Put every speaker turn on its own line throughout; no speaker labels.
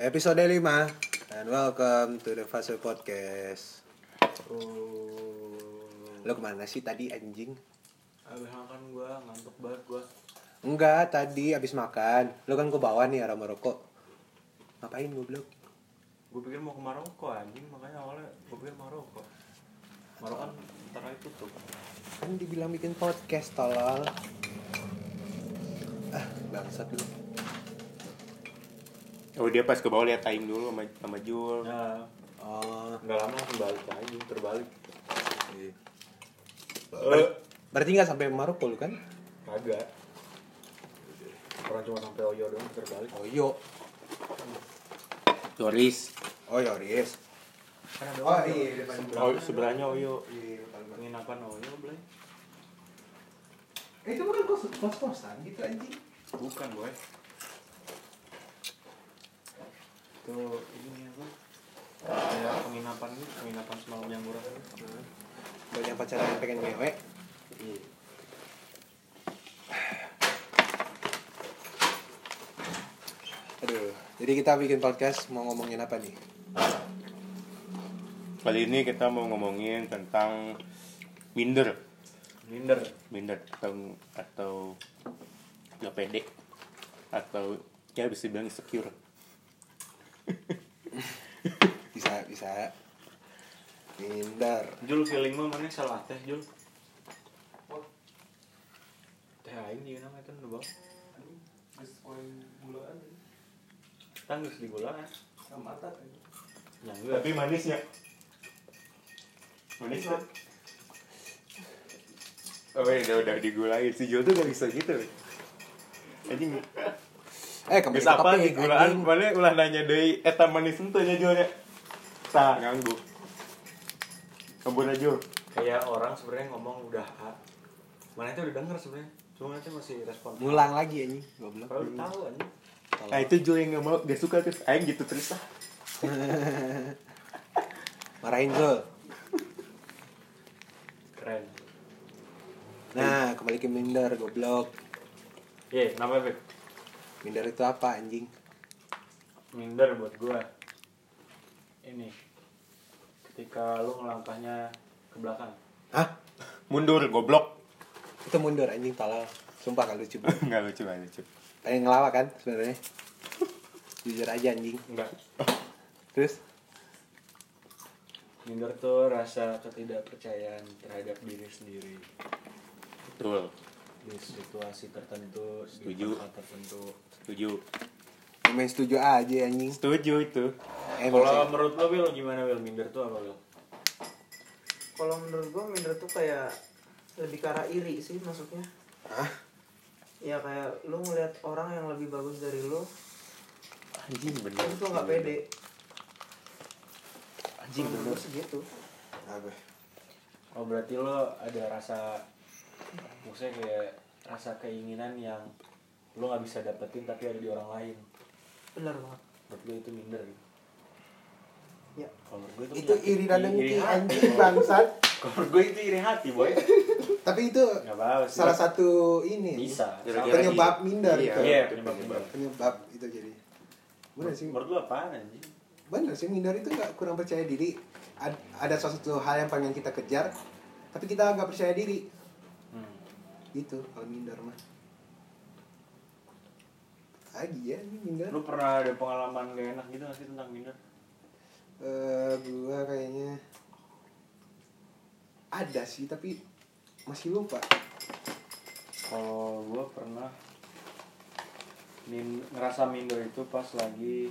Episode 5 And welcome to the Fase Podcast
Oh.
Lo kemana sih tadi anjing?
Abis makan gue ngantuk banget gue
Enggak, tadi abis makan Lo kan ke bawah nih aroma rokok Ngapain goblok?
Gue pikir mau ke Maroko anjing makanya awalnya gue pikir Maroko Maroko kan ntar lagi tutup
Kan dibilang bikin podcast tolol Ah, bangsat lu
Oh dia pas ke bawah lihat time dulu sama, sama Jul.
Ya
Oh,
Gak lama langsung balik aja terbalik
iya.
Eh
Berarti nggak sampai Maroko lu kan?
Kagak Orang cuma sampai Oyo doang terbalik
Oyo
Yoris.
Oyo, Oh, iya, Riz
Kan ada
Oh,
Oyo.
iya, depan
Sebelah-
Oh sebelahnya Oyo.
Iya, kalau
Penginapan Oyo belai
Eh, itu bukan kos kos kosan gitu anjing
Bukan boy Tuh ini apa Kayak penginapan gitu, penginapan semalam yang murah
banyak pacaran yang pengen ngewe
Iya
aduh jadi kita bikin podcast mau ngomongin apa nih
Kali ini kita mau ngomongin tentang minder,
Minder
minder atau atau nggak pede atau ya bisa bilang insecure.
bisa bisa minder
Jul feeling mah mana salah teh Jul teh aing juga nama itu nubang tangis di gula kan yang enggak
manisnya. Manis kan? Oh ya udah udah digulain si Jul tuh gak bisa gitu. Anjing.
eh kembali
Bisa
ke
apa
topik
digulaan?
anjing.
Mana ulah nanya Eh, deui eta manis henteu nya Julnya. Tah nganggu. Kebun aja.
kayak orang sebenarnya ngomong udah ha. mana itu udah denger sebenarnya cuma nanti masih respon
ngulang lagi anjing goblok
kalau tahu aja
Nah itu Jul yang gak mau, gak suka terus Aing gitu terus ah
marahin Zul
keren
nah kembali ke minder goblok
ye nama Beb.
minder itu apa anjing
minder buat gua ini ketika lu ngelangkahnya ke belakang
hah
Mundur, goblok
itu mundur anjing tolol sumpah kalau lucu banget.
Gak lucu, gak lucu
pengen ngelawak kan sebenarnya jujur aja anjing
enggak
terus
minder tuh rasa ketidakpercayaan terhadap diri sendiri
Betul,
di situasi tertentu
Setuju.
di tempat tertentu
setuju
main setuju aja anjing
Setuju itu
eh
kalau
maksudnya-
menurut lo Wil gimana Wil minder tuh apa Wil
kalau menurut gua minder tuh kayak lebih ke arah iri sih masuknya
Hah?
ya kayak lu ngeliat orang yang lebih bagus dari lu
Anjing bener
terus lu nggak pede
Anjing bener
menurut gua segitu
apa
oh berarti lo ada rasa maksudnya kayak rasa keinginan yang lo nggak bisa dapetin tapi ada di orang lain
benar banget
menurut gue itu minder gitu
ya
kalau menurut gue itu,
itu
penyakit-
iri dan
iri
dengki
hati,
anjing
boy.
bangsat
kalau menurut gue itu iri hati boy
tapi itu
nggak apa-apa sih.
salah satu ini
bisa
Gara-gara
Sama-
penyebab minder
Iya,
gitu.
iya
itu
penyebab minder
penyebab itu jadi benar sih
menurut lo apaan anjing
benar sih minder itu nggak kurang percaya diri Ad- ada sesuatu hal yang pengen kita kejar tapi kita nggak percaya diri
hmm.
gitu kalau minder mah lagi ya ini minder
Lu pernah ada pengalaman gak enak gitu gak sih tentang minder?
Eh, gua kayaknya ada sih tapi masih lupa
Kalau gue pernah min ngerasa minder itu pas lagi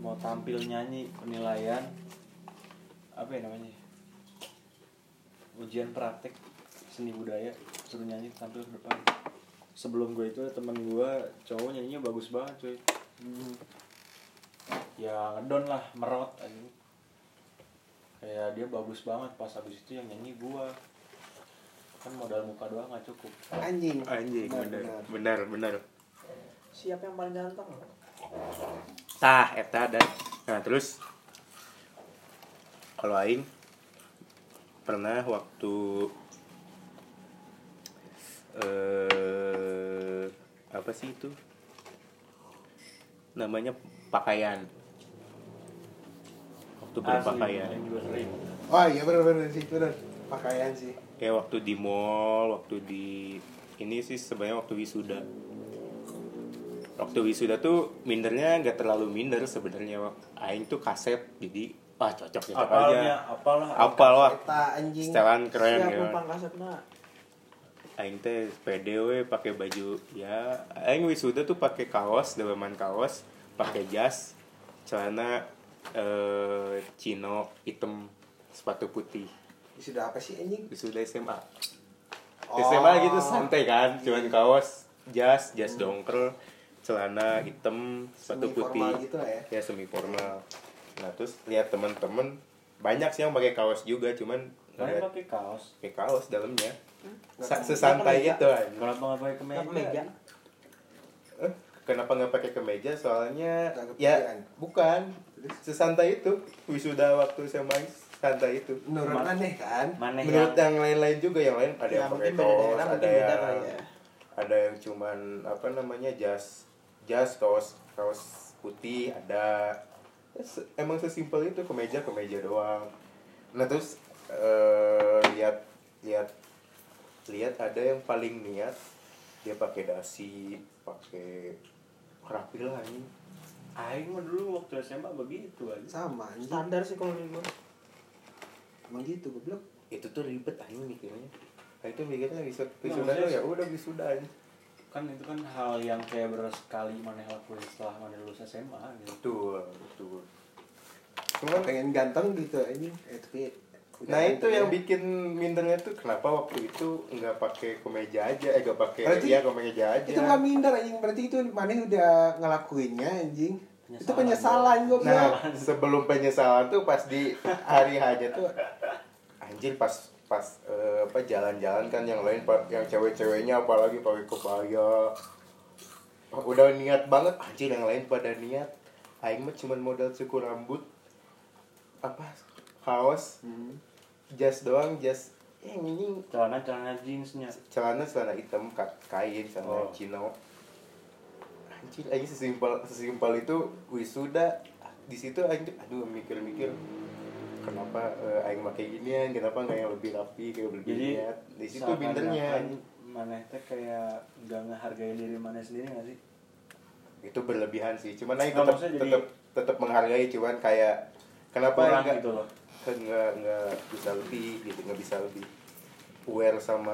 mau tampil nyanyi penilaian apa ya namanya ujian praktek seni budaya suruh nyanyi tampil ke depan sebelum gue itu ada temen gue cowok nyanyinya bagus banget cuy ya ngedon lah merot anjing kayak dia bagus banget pas habis itu yang nyanyi gua kan modal muka doang nggak cukup
anjing
Anjing bener,
Benar, benar.
bener, bener
siap yang paling ganteng
Tah, eta dan Nah terus Kalau Aing Pernah waktu eh Apa sih itu namanya pakaian waktu berpakaian
Asli, yang juga sering.
oh iya benar-benar sih benar pakaian sih
ya waktu di mall waktu di ini sih sebenarnya waktu wisuda waktu wisuda tuh mindernya nggak terlalu minder sebenarnya aing tuh kaset jadi ah cocok
ya,
cocok
Apalnya,
aja
apalah.
apal lah
kita anjing
setelan keren
Siap
gitu
numpang kaset nak.
aing teh PDW pakai baju ya aing wisuda tuh pakai kaos daleman kaos pakai jas celana eh, chino hitam sepatu putih
sudah apa sih anjing
wisuda SMA
Oh.
SMA gitu santai kan cuman kaos jas jas dongker celana hitam
Semi
sepatu putih
formal gitu lah ya.
ya semi formal nah terus lihat teman-teman banyak sih yang pakai kaos juga cuman
Kalian
nggak
pakai kaos.
pakai kaos dalamnya Sa-
Nggak-
sesantai
nggak
itu anjing.
Kenapa nggak pakai kemeja?
Nggak kemeja.
Eh, kenapa nggak pakai kemeja soalnya
Nggak kepikiran.
ya bukan sesantai itu wisuda waktu SMA santai itu
menurut
Mana-
aneh kan
Mana
menurut
yang
yang lain-lain juga yang lain ada
Ya,
yang pakai
mungkin beda
kaos
daerah,
ada
mungkin beda
yang
kali ya.
ada yang cuman apa namanya jas jas kaos kaos putih ada Ya, se- emang sesimpel itu kemeja kemeja doang nah terus eh, lihat lihat lihat ada yang paling niat dia pakai dasi pakai rapi lah ini
Aing mah dulu waktu SMA begitu aja.
sama anjing
Standar sih kalau di gua.
emang gitu goblok
itu tuh ribet anjing mikirnya nah, itu mikirnya bisa wisuda
maksudnya-
tuh ya udah wisuda aja
Kan itu kan hal yang kayak beres sekali mana lakuin setelah mana lulus SMA gitu.
betul betul cuman
pengen ganteng gitu anjing eh tapi udah
Nah itu
ganteng
yang
ya.
bikin mindernya tuh kenapa waktu itu nggak pakai kemeja aja, eh nggak pakai
Berarti-
ya kemeja aja.
itu bukan minder anjing berarti itu maneh udah ngelakuinnya anjing itu
Penyesalan,
penyesalan
bro.
gue
Nah sebelum penyesalan tuh pas di hari hanya tuh anjir pas pas eh, apa jalan-jalan kan yang lain pa- yang cewek-ceweknya apalagi pakai kebaya udah niat banget anjir yang lain pada niat aing mah cuman modal cukur rambut apa kaos jas doang jas Eh, yang ini
Celana celana jeansnya.
celana celana hitam ka- kain celana
Oh.
chino anjir aja sesimpel sesimpel itu wisuda di situ anjir aduh mikir-mikir kenapa eh, aing pakai ginian kenapa nggak yang lebih rapi kayak lebih
Jadi
niat Iya, di situ
seakan-akan
mindernya
Maneh teh kayak nggak ngehargai diri maneh sendiri nggak sih?
itu berlebihan sih cuman aing
Nggak,
tetap
Nah, maksudnya jadi-
tetap tetap menghargai cuman kayak kenapa aing
Kurang
nggak-
gitu loh.
kan nggak nggak bisa lebih gitu nggak bisa lebih aware sama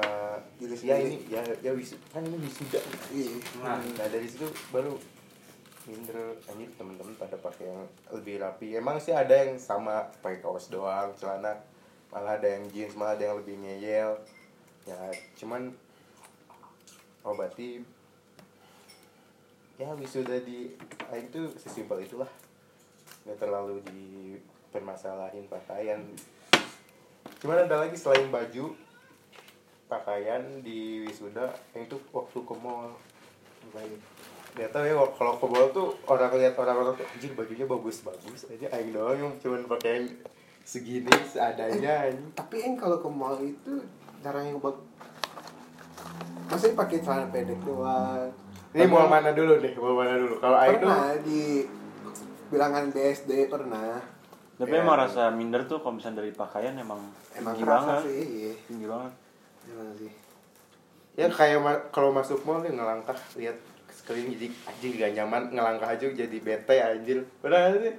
Diri
ya
sendiri.
ini ya ya wisu kan ini wisuda
Iya.
nah, nah dari situ baru minder anjir temen-temen pada pakai yang lebih rapi emang sih ada yang sama pakai kaos doang celana malah ada yang jeans malah ada yang lebih ngeyel ya cuman oh berarti ya wisuda di ah, itu sesimpel itulah nggak terlalu dipermasalahin pakaian cuman ada lagi selain baju pakaian di wisuda yang itu waktu ke mall dia tahu ya kalau ke mall tuh orang lihat orang-orang tuh anjir bajunya bagus-bagus aja aing doang yang cuman pakai yang segini seadanya anjing.
tapi en kalau ke mall itu jarang yang bak maksudnya pakai celana pendek doang
ini mall mana dulu deh mall mana dulu kalau
Nah,
aing tuh
pernah di bilangan BSD pernah
Tapi
Ya.
emang rasa minder tuh kalau misalnya dari pakaian emang,
emang
tinggi
kerasa
banget.
sih iya.
Tinggi banget.
emang sih
ya kayak ma- kalau masuk mall nih ngelangkah lihat ke sekeliling jadi anjing gak nyaman ngelangkah aja jadi bete anjir benar sih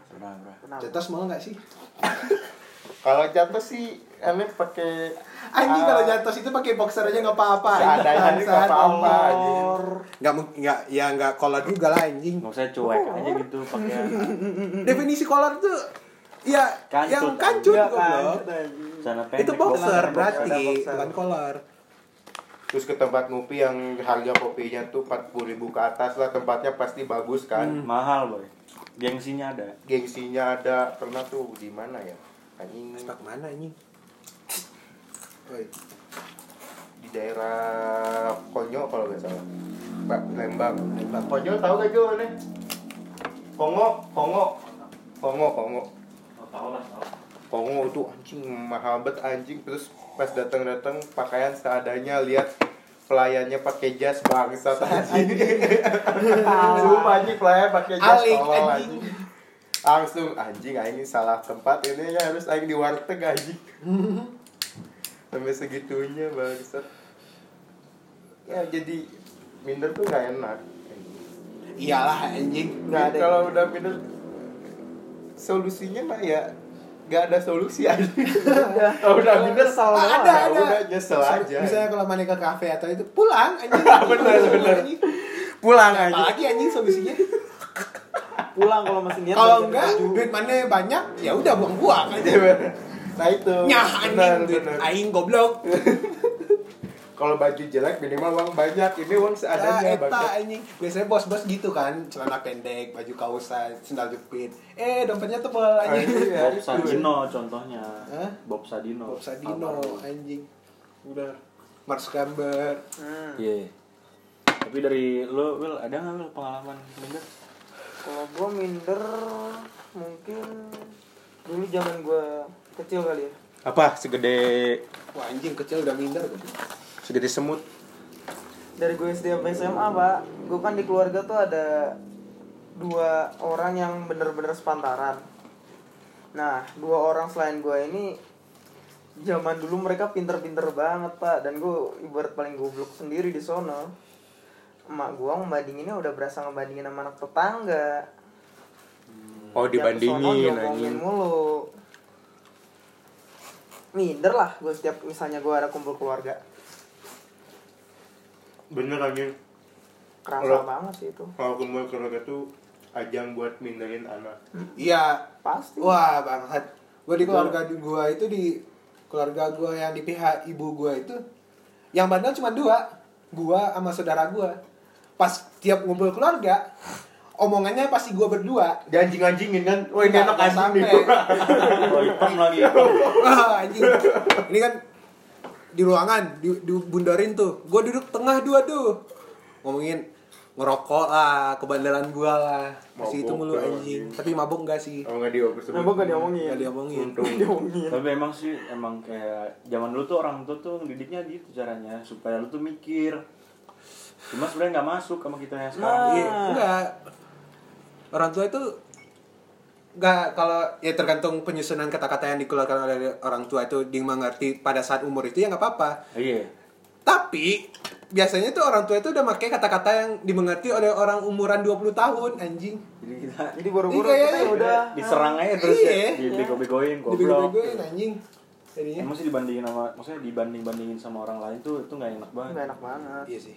Pernah, pernah.
Pernah.
cetas mau nggak sih
kalau jatuh sih aneh pakai
anjing
ah,
kalau jatuh itu pakai boxer aja nggak apa-apa
Seadanya aja nggak apa-apa, anjing.
nggak mung- nggak ya nggak kolor juga lah anjing
Nggak usah cuek
Oh.
aja gitu pakaian.
definisi kolor tuh ya
Kancut.
yang kancut
Iya,
goblok.
kan, anjing.
Celana pendek.
itu boxer
Boxer,
berarti
boxer.
bukan kolor
terus ke tempat ngopi yang harga kopinya tuh 40.000 ribu ke atas lah tempatnya pasti
Hmm.
bagus kan
Mahal boy. Gengsinya ada.
gengsinya ada pernah tuh di mana ya anjing
Aspak mana anjing Woi,
di daerah Konyo kalau nggak salah Pak Lembang
Lembang.
Konyo tahu gak Jo mana Kongo Kongo Kongo Kongo
Tahu lah.
Kongo itu anjing mahal banget anjing terus pas datang datang pakaian seadanya lihat pelayannya pakai jas bangsa tadi sumpah anjing pelayan pakai jas
Alik,
tolol,
anjing.
anjing. langsung Ah, anjing aing ini salah tempat ini ya harus aing di warteg anjing sampai segitunya bangsa ya jadi minder tuh gak enak
Iyalah anjing.
Nggak ada.
kalau udah minder solusinya mah ya gak ada solusi aja kalau udah minder
Kesel
Ah, Oh,
doang.
ada,
ya
ada.
udah nyesel
Misal-
aja.
Misalnya kalau mana ke kafe atau itu pulang anjing.
Bener, bener.
Anjing.
pulang aja
Apalagi anjing solusinya.
Pulang kalau masih niat.
Kalau
balikin
enggak
baju.
duit mana banyak, ya udah buang-buang aja.
nah itu
Nyah
Benar,
anjing duit
benar.
aing goblok.
kalau baju jelek minimal uang banyak ini uang
Nah,
seadanya
eta
bang
anjing. Biasanya bos-bos gitu kan, celana pendek, baju kausan, sandal jepit. Eh, dompetnya tebal anjing.
Bob Sadino contohnya.
Ya, Hah?
Bob Sadino.
Bob Sadino
Almarhum.
anjing. Udah Mark Zuckerberg.
Hmm.
Iya. Tapi dari lo, Will, ada nggak Will pengalaman minder?
Kalau gue minder mungkin dulu zaman gue kecil kali ya.
apa segede
Wah anjing kecil udah minder tuh.
segede semut
Dari gue SD sampai SMA pak, gue kan di keluarga tuh ada dua orang yang bener-bener sepantaran. Nah, dua orang selain gue ini zaman dulu mereka pinter-pinter banget pak dan gue ibarat paling goblok sendiri di sono emak gue ngebandinginnya udah berasa ngebandingin sama anak tetangga
oh dibandingin
Yang kesono diomongin
anjing
mulu minder lah gue setiap misalnya gue ada kumpul keluarga
bener anjing
kerasa
Kalau-
banget sih itu
kalau kumpul keluarga tuh ajang buat minderin anak
Iya,
pasti
Wah bangsat. Gue di keluarga di gua itu di keluarga gua yang di pihak ibu gua itu yang bandel cuma dua, gua sama saudara gua. Pas tiap ngumpul keluarga, omongannya pasti gua berdua.
dia anjing anjingin kan wah ini
Nggak,
anak
nggak
anjing nih
sampai.
Oh, hitam lagi.
Iya, Wah, anjing. Ini kan di ruangan di, bundarin tuh. Gua duduk tengah dua tuh. Ngomongin ngerokok lah, kebandelan gua lah. Masih itu
Mabok
mulu
lah,
anjing.
anjing.
Tapi mabok enggak sih?
oh nggak diobrol sebut.
Emang gak diomongin?
Enggak diomongin.
untung
iya.
diomongin
Tapi emang sih, emang kayak zaman dulu tuh orang tua tuh didiknya gitu caranya supaya lu tuh mikir. Cuma sebenarnya nggak masuk sama kita yang sekarang.
Nah.
Iya, enggak. Orang tua itu enggak kalau ya tergantung penyusunan kata-kata yang dikeluarkan oleh orang tua itu dimengerti pada saat umur itu ya nggak apa-apa.
Iya.
Tapi biasanya tuh orang tua itu udah pakai kata-kata yang dimengerti oleh orang umuran 20 tahun anjing.
Jadi kita
jadi boro-boro
Iya,
kita
iya,
ya udah
diserang aja terus
Iya.
ya, dibego-begoin, goblok.
Dibego-begoin anjing. Jadinya
Emang sih dibandingin sama, maksudnya dibanding-bandingin sama orang lain tuh itu nggak enak banget.
gak enak banget
iya sih.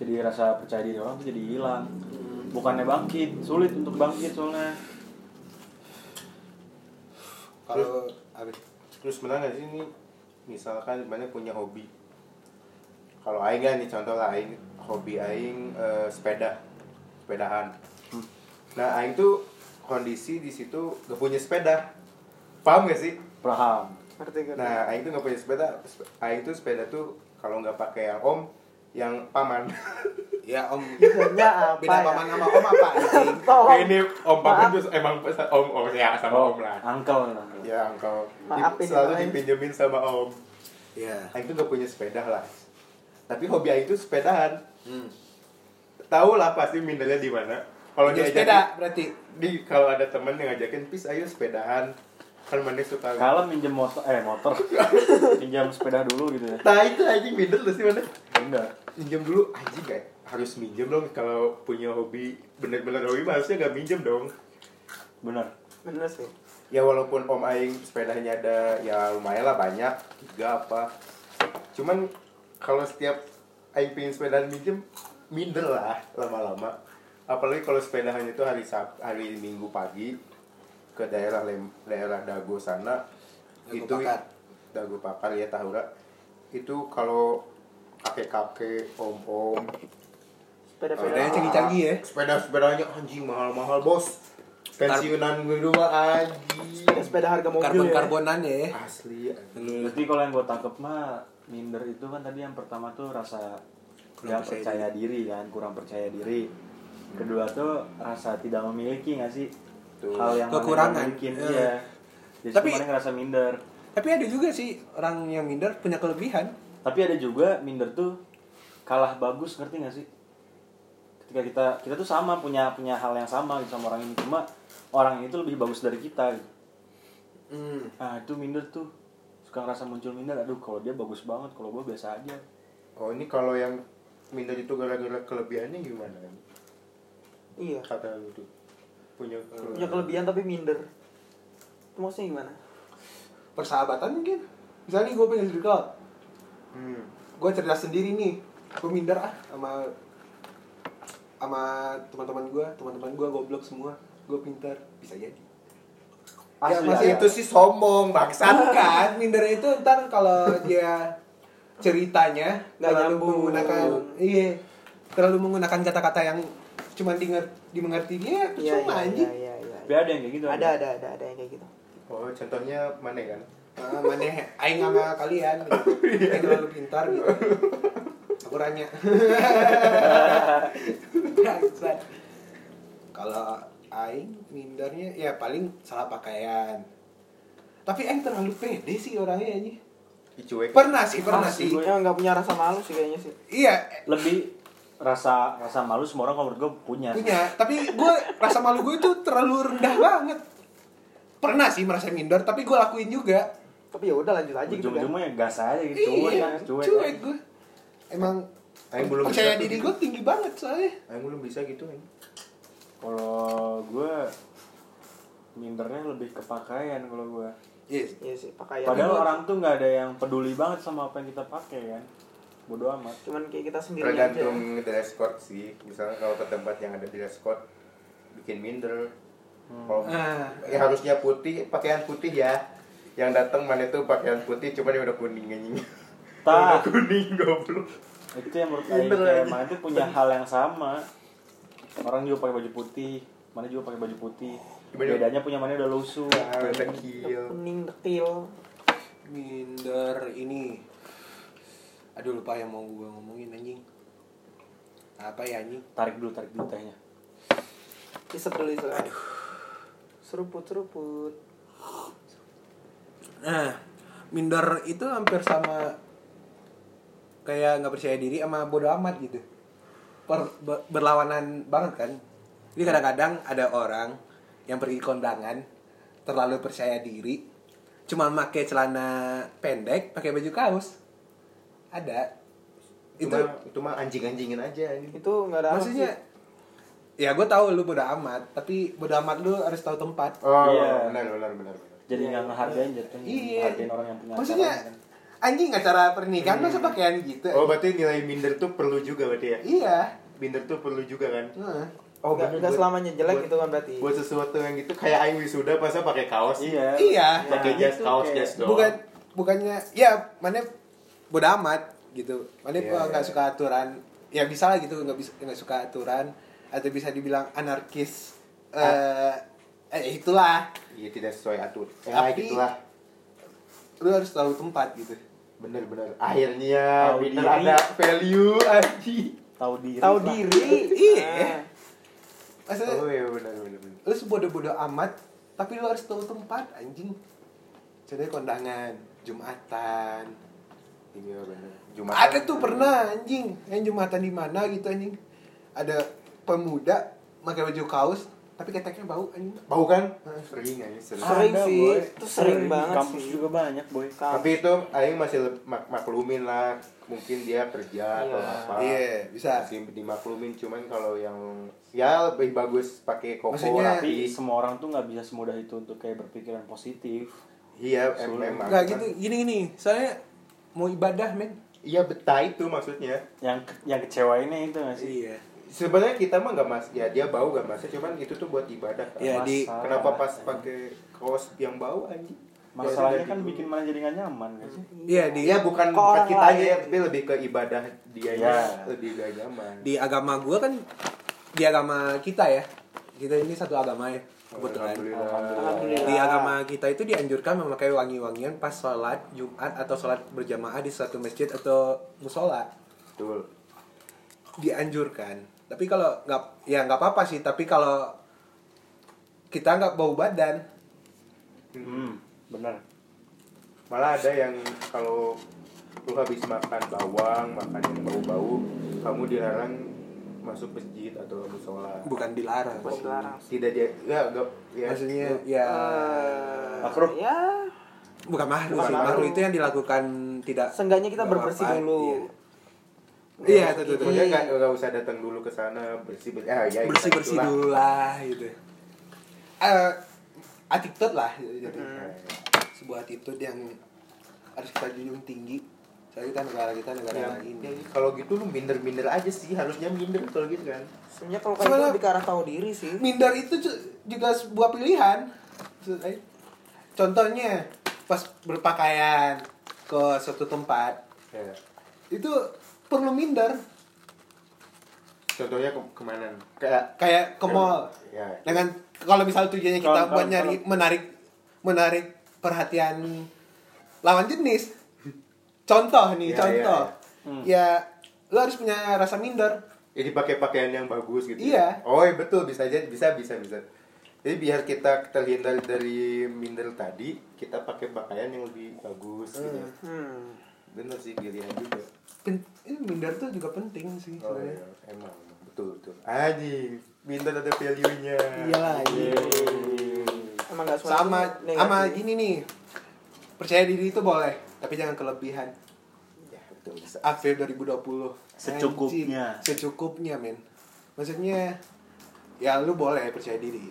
Jadi rasa percaya diri orang tuh jadi hilang. Bukannya bangkit, sulit untuk bangkit soalnya.
Kalau abis
terus benar nggak sih ini misalkan banyak punya hobi kalau aing kan nih contoh lah aing hobi aing eh, sepeda sepedahan nah aing tuh kondisi di situ gak punya sepeda paham gak sih
Paham.
ngerti gak?
nah aing tuh gak punya sepeda Sep- aing tuh sepeda tuh kalau nggak pakai yang om yang paman
ya om
Bedanya apa
beda
ya?
paman sama om apa anjing?
tolong
ini om paman
Maaf.
tuh emang pes- om om ya sama om lah
Oh, Uncle. uncle.
ya engkau
Maafin ya,
selalu
Aing.
dipinjemin sama om
Iya.
Aing tuh gak punya sepeda lah tapi hobi Aing tuh sepedahan
Hmm.
tahu lah pasti mindernya di mana kalau
Punya
dia
sepeda berarti.
di kalau ada temen yang ngajakin pis ayo sepedahan kan mana suka
Kalau minjem motor, eh motor, pinjam sepeda dulu gitu ya.
nah itu anjing minder lu sih mana
Enggak.
minjem dulu anjing kayak harus minjem dong kalau punya hobi bener-bener hobi mah harusnya gak minjem dong
Bener.
bener sih
ya walaupun om aing sepedanya ada ya lumayan lah banyak tiga apa cuman kalau setiap aing pingin sepedaan minjem minder lah lama-lama apalagi kalau sepedahannya itu hari Sab- hari minggu pagi ke daerah lem, daerah dago sana
Dago
itu
Pakar.
dago pakar ya tahura itu kalau kakek kakek om om
Sepedanya
sepeda-sepeda
cengit. canggih-canggih ya.
sepeda sepedanya anjing mahal mahal bos pensiunan gue dua anjing
sepeda harga mobil ya
Karbon-karbonan ya.
asli
Berarti kalau yang gue tangkep mah minder itu kan tadi yang pertama tuh rasa
Kurang
kurang
percaya
percaya diri. kan, kurang percaya diri. Kedua tuh rasa tidak memiliki nggak sih?
Tuh.
Hal yang mana
Kekurangan.
nggak Mungkin
Iya.
iya. Jadi
Tapi-
Tapi ngerasa minder.
Tapi ada juga sih orang yang minder punya kelebihan.
tapi ada juga minder tuh kalah bagus ngerti gak sih ketika kita kita tuh sama punya punya hal yang sama gitu sama orang ini cuma orang ini tuh lebih bagus dari kita gitu.
Hmm.
nah itu minder tuh suka ngerasa muncul minder aduh kalau dia bagus banget kalau gue biasa aja
Oh ini kalau yang minder itu gara-gara kelebihannya gimana?
Iya.
Kata lu tuh punya
Punya kelebihan tapi minder. Itu maksudnya gimana?
Persahabatan mungkin. Misalnya gue pengen jadi cloud.
Hmm.
Gue cerdas sendiri nih. Gue minder ah sama sama teman-teman gue, teman-teman gue goblok semua. Gue pintar, bisa jadi.
Iya,
Ya,
Asli,
masih itu
asli.
Itu sih sombong bangsat.
Ah.
Kan kan, minder itu ntar kalau dia ceritanya
Nggak
terlalu
nyambung.
menggunakan iya terlalu menggunakan kata-kata yang cuma dinger, dimengerti dia
Iya,
cuma
iya,
anjing
Iya, iya,
tapi
iya.
ada yang kayak gitu
Ada, ada, ada, ada yang kayak gitu.
Oh contohnya mana kan?
Ah, mana aing sama kalian gitu. Aing terlalu pintar gitu. Aku ranya. Bangsat. Kalau aing mindernya ya paling salah pakaian. Tapi aing terlalu pede sih orangnya ini.
Dicuek.
Pernah sih, pernah
Ah,
sih.
sih, gue-
Yang nggak punya rasa malu sih kayaknya sih.
Iya, eh,
lebih rasa rasa malu semua orang kalau menurut gue punya sih.
punya. Tapi gue rasa malu gue itu terlalu rendah banget. Pernah sih merasa minder, tapi gue lakuin juga.
Tapi ya udah lanjut aja gitu kan.
ujung-ujungnya gas aja gitu cuek
Iya,
kan cuek,
cuek gue. Emang
Aing belum
percaya
bisa tuh
diri
gitu.
gue tinggi banget soalnya.
Aing belum bisa gitu kan.
kalau gue mindernya lebih ke pakaian kalau gue
Yes.
Iya sih, pakaian.
padahal
doang.
orang tuh nggak ada yang peduli banget sama apa yang kita pakai kan bodoh amat
cuman kayak kita sendiri aja.
Tergantung dress code sih. Misalnya kalau ke tempat yang ada dress code bikin minder.
Hmm.
Kalau
Ah.
ya harusnya putih, pakaian putih ya. Yang datang mana itu pakaian putih cuman dia udah kuning anjing.
Tah.
Ah.
Udah kuning goblok.
itu yang menurut Aing
Minder
kayak
aja.
mana tuh punya hal yang sama orang juga pakai baju putih mana juga pakai baju putih
Gimana?
bedanya punya mana udah lusuh
Ah, tekil.
Kuning dekil.
minder ini aduh lupa yang mau gue ngomongin anjing apa ya anjing
tarik dulu tarik dulu tehnya
Isep dulu isep. Seruput seruput.
nah minder itu hampir sama kayak nggak percaya diri sama bodoh amat gitu Per- be- berlawanan banget kan jadi kadang-kadang ada orang yang pergi kondangan terlalu percaya diri cuma pakai celana pendek pakai baju kaos ada
Itu mah, itu mah anjing-anjingin aja gitu. anjing.
Itu nggak ada. apa
maksudnya
sih.
ya gue tahu lu bodo amat tapi bodo amat lu harus tahu tempat
Oh,
Iya.
benar benar benar. benar.
jadi
Iya.
nggak ngehargain jatuhnya
iya
ngehargain orang yang punya
maksudnya
acara, kan.
anjing acara pernikahan masa pakaian gitu
Oh, berarti nilai minder tuh perlu juga berarti ya?
iya
Minder tuh perlu juga kan?
Heeh.
Oh,
Nggak-
bener,
nggak
buat-
selamanya jelek
buat-
gitu kan berarti.
Buat sesuatu yang gitu kayak Aing wisuda masa pakai kaos. Ah,
iya
Iya.
Pakai
Nah,
jas
itu
kaos
kayak-
jas doang.
bukan bukannya ya mana bodo amat gitu mana
Iya,
eh, nggak
iya.
suka aturan ya bisa lah gitu nggak bisa nggak suka aturan atau bisa dibilang anarkis
Ah.
eh eh, itulah
Iya tidak sesuai atur. Ya,
Tapi-
gitulah.
lu harus tahu tempat gitu
Bener-bener.
Tahu
Akhirnya minder
diri.
ada value anjing.
tahu diri
Tahu
lah.
diri.
Iya.
Nah,
maksudnya
Oh iya benar benar benar.
lu sebodoh-bodoh amat tapi lu harus tahu tempat anjing contohnya kondangan jumatan
Iya benar.
ada tuh pernah anjing yang jumatan di mana gitu anjing ada pemuda pakai baju kaos tapi keteknya bau anjing
Bau kan? Sering aja sering.
Ah. Sering sih,
boy.
itu sering banget
kampus
sih.
juga banyak boy
Tapi itu Aing masih leb- mak- maklumin lah. Mungkin dia kerja atau
Iya.
apa.
Iya, bisa.
Masih dimaklumin cuman kalau yang ya lebih bagus pakai koko
Maksudnya-
tapi
rapi.
semua orang tuh nggak bisa semudah itu untuk kayak berpikiran positif
Iya
Sulit.
em- memang.
nggak
Cuman-
gitu gini gini soalnya mau ibadah men
Iya betah itu maksudnya.
yang yang kecewainnya itu nggak sih
iya
Sebenarnya kita mah nggak mas, ya dia bau gak masalah, cuman itu tuh buat ibadah kan.
Iya, di-
Masalah.
Kenapa pas pakai kaos yang bau anjing?
masalahnya kan
gitu.
Jadi-
bikin mana jadi nggak nyaman nggak sih
iya di
Iya bukan
Ke
bukan
orang
kita aja,
lain.
tapi lebih ke ibadah dia ya,
Iya.
lebih gak nyaman.
di agama gua kan di agama kita ya kita ini satu agama ya kebetulan
Alhamdulillah.
Di agama kita itu dianjurkan memakai wangi-wangian pas sholat Jumat atau sholat berjamaah di suatu masjid atau musola
Betul.
dianjurkan. Tapi kalau nggak ya nggak apa-apa sih. Tapi kalau kita nggak bau badan,
hmm benar
Malah ada yang kalau lu habis makan bawang makan yang bau-bau kamu dilarang masuk masjid atau musola
bukan dilarang
Bukan dilarang.
tidak dia ya, gak, ya
maksudnya
Iya.
ya
Eh,
Makruh.
Ya,
bukan mahru
bukan
sih
mahru.
mahru itu yang dilakukan tidak
seenggaknya kita
Gak
berbersih
apa-apa,
dulu.
iya itu tuh, tuh.
Maksudnya nggak nggak usah datang dulu ke sana bersih bersih ah, ya,
bersih bersih
itulah.
dulu lah gitu Iya, Eh, attitude lah jadi
Hmm.
Nah,
sebuah attitude yang harus kita junjung tinggi soalnya kita negara kita negara
Iya.
ya,
lain
ya, kalau gitu lu minder-minder aja sih harusnya minder kalau gitu kan
Sebenarnya kalau kayak
Sebenarnya-
gitu lebih ke arah tahu diri sih.
minder itu ju- juga sebuah pilihan Maksud saya, contohnya pas berpakaian ke suatu tempat
ya.
itu perlu minder
contohnya ke kemana kayak
kayak ke mall
ya.
dengan kalau misal tujuannya kita
Kalau-
buat
kalau-
nyari
kalau-
menarik menarik perhatian lawan jenis contoh nih
Ya,
contoh
ya,
iya,
ya lo harus punya rasa minder
jadi pakai Ya, pakaian yang bagus gitu
Iya.
ya? oh iya betul bisa aja bisa bisa bisa jadi biar kita terhindar dari minder tadi kita pakai pakaian yang lebih bagus gitu
Hmm.
bener sih pilihan juga
Pen- eh, minder tuh juga penting sih
oh
sebenarnya
iya emang emang. betul betul anjing minder ada value nya
Iyalah, iya.
Emang gak semua
sama
itu negatif.
sama gitu. gini nih percaya diri itu boleh tapi jangan kelebihan
ya betul bisa
akhir 2020
Secukupnya.
Anjing, secukupnya men maksudnya ya lu boleh percaya diri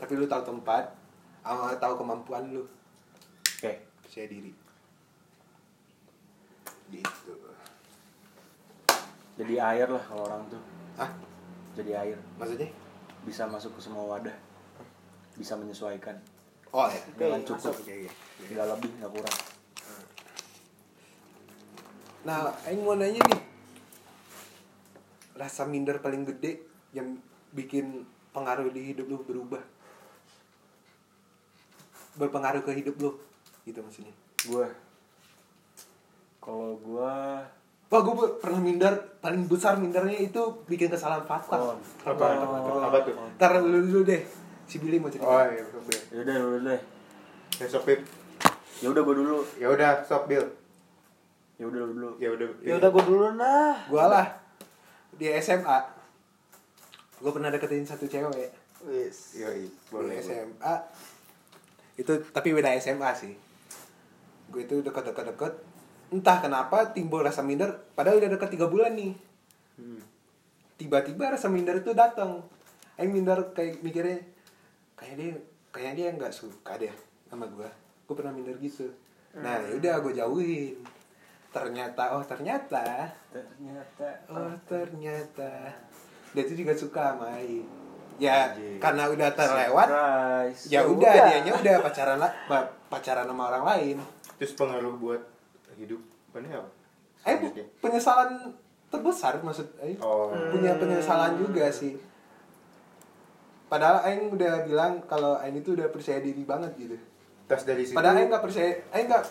tapi lu tahu tempat sama tahu kemampuan lu
oke
percaya diri gitu
jadi air lah kalau orang tuh
ah
jadi air
maksudnya
bisa masuk ke semua wadah bisa menyesuaikan
oh ya
Oke, iya,
dengan cukup
masuk.
Oke, oke.
nggak lebih nggak kurang
nah aing mau nanya nih rasa minder paling gede yang bikin pengaruh di hidup lu berubah berpengaruh ke hidup lu gitu maksudnya
gue kalau gue
Wah gue pernah minder, paling besar mindernya itu bikin kesalahan fatal.
Oh, apa apa tuh
Ntar lu dulu deh, si Billy mau cerita.
oh iya betul Bil.
ya udah dulu deh
ya sob Bil.
ya udah gue dulu
ya udah sob Bil.
ya udah lu dulu
ya udah
Ya udah gue dulu nah.
Gua lah, di SMA, gue pernah deketin satu cewek.
Wis.
Yoi,
Boleh.
boleh
SMA, itu tapi beda SMA sih. Gue itu deket-deket-deket, entah kenapa timbul rasa minder, padahal udah deket 3 bulan nih. Tiba-tiba rasa minder itu datang. Aing minder kayak mikirnya, kayak dia, kayak dia nggak suka deh sama gua. Gue pernah minder gitu. Nah, udah gue jauhin. Ternyata, oh ternyata,
ternyata
Oh ternyata dia itu juga suka sama Aing. Ya karena udah terlewat,
surprise
ya
Ya
udah
udah.
dianya udah pacaran lah, ba- pacaran sama orang lain.
terus pengaruh buat hidup mana ya? apa
Eh bu- penyesalan terbesar maksud Aing.
Oh.
Punya penyesalan juga sih. Padahal Aing udah bilang kalau Aing itu udah percaya diri banget gitu.
tas dari situ
Padahal Aing nggak percaya, Aing nggak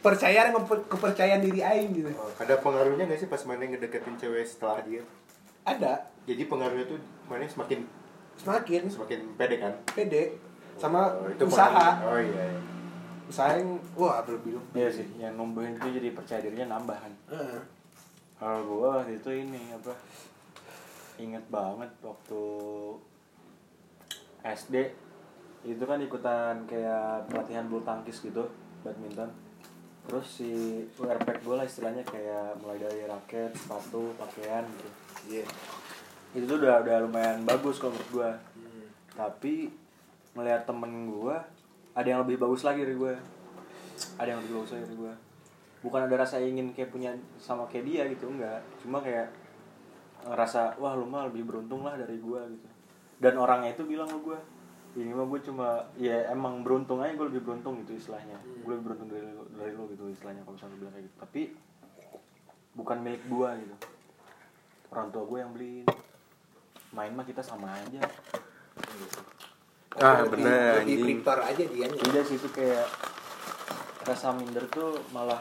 percaya dengan pe- kepercayaan diri Aing gitu.
Oh, ada pengaruhnya gak sih pas mana ngedeketin cewek setelah dia?
Ada
Jadi pengaruhnya tuh mana semakin
semakin
semakin pede kan?
pede sama
Oh, pengaruh.
usaha.
Oh iya. iya.
Usaha yang wah berlebih
iya sih yang numbuhin itu jadi percaya dirinya nambah kan
Heeh.
kalau gue waktu itu ini apa inget banget waktu SD itu kan ikutan kayak pelatihan bulu tangkis gitu badminton terus si URPEK gue lah istilahnya kayak mulai dari raket sepatu pakaian gitu
Iya.
itu tuh udah udah lumayan bagus kalau menurut gua tapi melihat temen gua ada yang lebih bagus lagi dari gua ada yang lebih bagus lagi dari gua bukan ada rasa ingin kayak punya sama kayak dia gitu enggak cuma kayak ngerasa wah lu mah lebih beruntung lah dari gua gitu dan orangnya itu bilang ke gua ini mah gua cuma ya emang beruntung aja gua lebih beruntung gitu istilahnya gua lebih beruntung dari lu, dari lu gitu istilahnya kalau misalnya lu bilang kayak gitu tapi bukan milik gua gitu orang tua gue yang beliin main mah kita sama aja
Ah,
Lebih-
bener,
Lebih
anjing.
prepare aja dia nih.
tidak sih itu kayak rasa minder tuh malah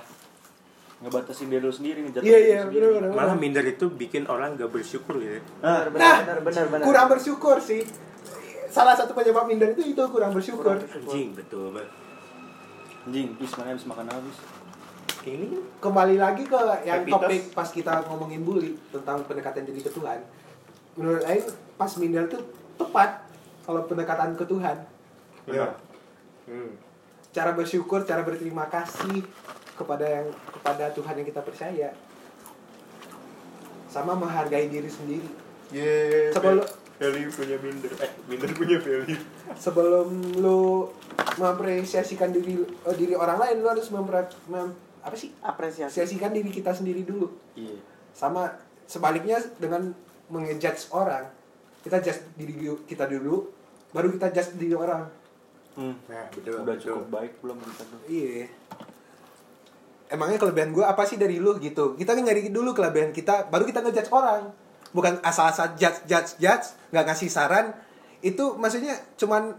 ngebatasin diri lu sendiri ngejatuhin
Iya
diri
iya
sendiri.
benar benar.
Malah minder itu bikin orang gak bersyukur ya.
Nah,
Nah,
Benar benar benar benar benar.
kurang bersyukur sih. Salah satu penyebab minder itu itu kurang bersyukur.
Kurang bersyukur.
betul banget.
anjing bis mana habis makan habis ini
kembali lagi ke yang
Happy
topik pas kita ngomongin bully tentang pendekatan diri ke Tuhan menurut Aing pas minder tuh tepat kalau pendekatan ke Tuhan
Benar.
Ya.
Hmm.
cara bersyukur cara berterima kasih kepada yang kepada Tuhan yang kita percaya sama menghargai diri sendiri
Yeay.
Sebelum-
value eh, punya minder. Eh, minder punya value.
sebelum lu mengapresiasikan diri eh, diri orang lain lu harus mempra- mem- apa sih
apresiasi Eh.
apresiasikan diri kita sendiri dulu
iya
sama sebaliknya dengan mengejudge orang kita judge diri gi- kita dulu baru kita judge diri orang
hmm.
Nah, betul.
udah
betul.
cukup baik belum kita tuh
iya emangnya kelebihan gue apa sih dari lu gitu kita kan nyari dulu kelebihan kita baru kita ngejudge orang bukan asal-asal judge judge judge nggak ngasih saran itu maksudnya cuman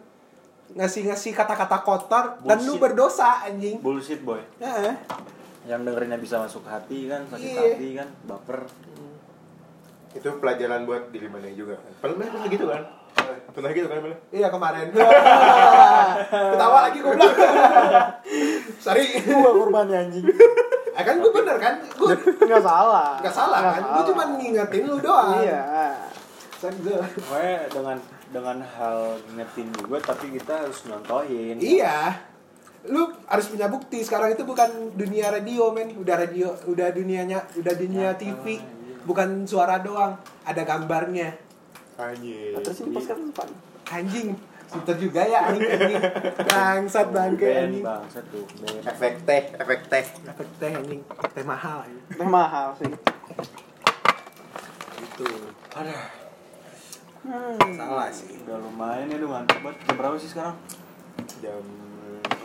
ngasih-ngasih kata-kata kotor dan lu
Bullshit.
berdosa anjing
bullshit boy
Heeh.
yang dengerinnya bisa masuk hati kan sakit
Iya.
hati kan baper
Itu pelajaran buat diri mana juga kan. Pernah pernah gitu kan? Pernah gitu kan, pernah?
iya kemarin ketawa lagi goblok sorry
gua korbannya anjing
Eh kan gue bener kan? Gue
nggak salah
gak salah kan? Gue cuma ngingetin lu doang
iya
Sorry, gua-
Pokoknya dengan dengan hal ngetin juga tapi kita harus nyontohin.
Iya Lu harus punya bukti Sekarang itu bukan dunia radio men Udah radio Udah dunianya Udah dunia
Nyata,
TV
iya.
Bukan suara doang Ada gambarnya
Anjir.
terus ini pas kan depan
Iya. Anjing Sinter juga ya anjing anjing Bangsat bangke
Ben,
anjing
Bang, satu. Ben.
Efek teh, efek teh.
Dapet teh anjing Teh mahal anjing.
teh mahal sih
Itu
Aduh,
hmm.
Salah sih
udah lumayan ya lu mantep banget. Jam berapa sih sekarang?
Jam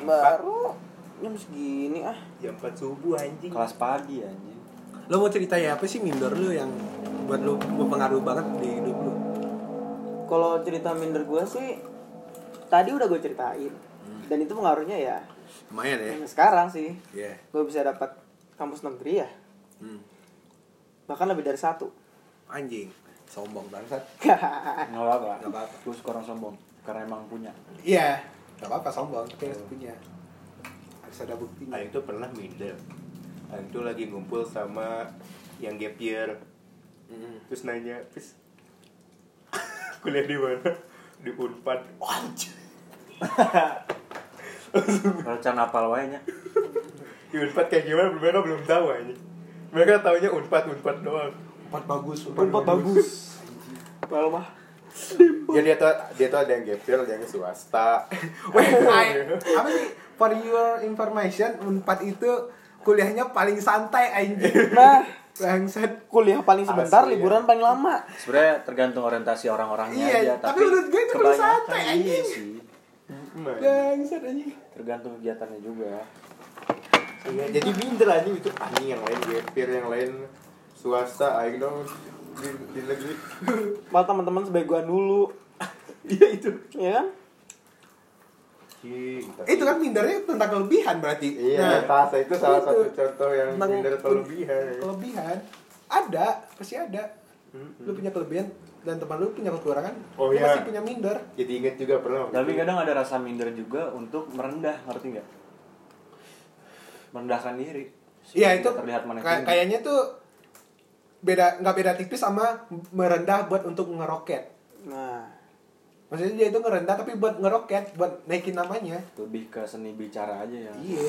baru jam segini ah
jam 4 subuh
Iya.
anjing.
Kelas pagi anjing.
Lo mau cerita ya apa sih minder lu yang Buat lu berpengaruh banget di hidup lu
kalau cerita minder gue sih tadi udah gue ceritain dan itu pengaruhnya ya
Lumayan ya
yang sekarang sih
Iya
gue bisa dapat kampus negeri ya
Hmm.
bahkan lebih dari satu
Anjing Sombong bangsat
Enggak apa-apa.
Nggak apa-apa.
Lu sekarang sombong karena emang punya.
Iya. Gak apa-apa sombong, kita harus punya. Harus ada buktinya.
Aing tuh Nah, pernah minder. Aing tuh lagi ngumpul sama yang gap year.
Mm-hmm.
Terus nanya, "Pis, kuliah di mana?" Di Unpad. Anjir.
Rencana apal wae nya.
Di Unpad kayak gimana mereka belum tahu aja. Mereka taunya Unpad Unpad doang.
Empat bagus,
tempat bagus ah. Padahal mah
Ya dia tuh dia tuh ada yang gap year, ada yang swasta. Iya.
Wait, I- apa sih? For your information, Unpad itu kuliahnya paling santai anjing.
nah
Bangsat.
kuliah paling sebentar
Asli, ya.
liburan paling lama
Sebenarnya tergantung orientasi orang-orangnya
Iya,
aja,
tapi menurut gue itu perlu
kebanyakan
santai,
iya
anjing.
sih.
Nah,
Bangsat anjing.
Tergantung kegiatannya juga.
iya, jadi minder aja itu anjing yang lain gap year, yang lain swasta, aing dong di, di negeri.
malah teman-teman sebaguan dulu
Iya itu.
ya kan
Cing, tapi-
Itu kan mindernya tentang kelebihan berarti.
Iya, tasa itu salah
Nah, itu.
satu contoh yang
tentang
minder kelebihan.
Kelebihan ada, pasti ada. Lu punya kelebihan dan teman lu punya kekurangan,
Oh,
lu
iya.
pasti punya minder.
Jadi inget juga pernah.
Tapi kan kadang ada rasa minder juga untuk merendah, ngerti nggak? Merendahkan diri.
Iya
Supaya
itu
tidak terlihat mana
kay-
tinggi.
kayaknya tuh beda nggak beda tipis sama merendah buat untuk ngeroket.
nah
Maksudnya dia itu ngerendah tapi buat ngeroket, buat naikin namanya.
lebih ke seni bicara aja ya
Iya.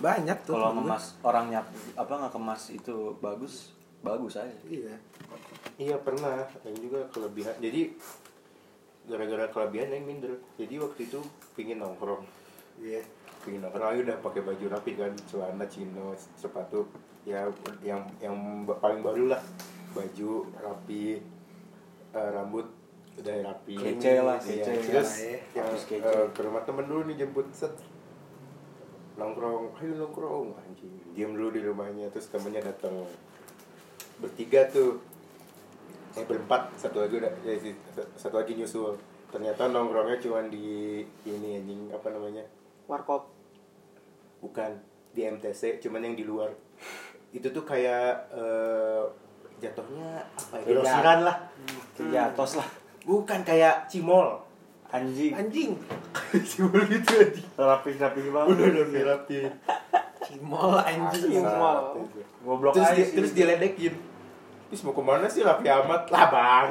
Banyak tuh.
kalau
temen gue.
ngemas orangnya apa nggak kemas itu bagus bagus aja
Iya.
Iya pernah. Yang juga kelebihan. Jadi gara-gara kelebihan yang minder. Jadi waktu itu pingin nongkrong.
Iya.
Pingin nongkrong ayo udah pakai baju rapi kan, celana chino, sepatu ya yang yang ba- paling baru lah. Baju rapi, eh, rambut udah rapi.
Kece lah, ya.
Iya,
kece.
Terus
Iya.
yang,
Terus kece.
eh, ke rumah temen dulu nih jemput set nongkrong ayo nongkrong anjing diam dulu di rumahnya terus temennya datang bertiga tuh eh berempat satu lagi udah ya, si- satu lagi nyusul ternyata nongkrongnya cuman di ini anjing apa namanya
warkop
bukan di MTC cuman yang di luar itu tuh kayak eh, jatuhnya apa ya
Kayak
grosiran lah
Iya,
ya tos lah
bukan kayak cimol
anjing
Anjing.
cimol gitu anjing
rapi rapi banget
udah udah rapi
Kimol anjing.
Asli. Kimol.
Sakit gue.
Goblok
terus
aja
dia,
sih. gitu.
terus diledekin terus mau kemana sih Raffi Ahmad lah bang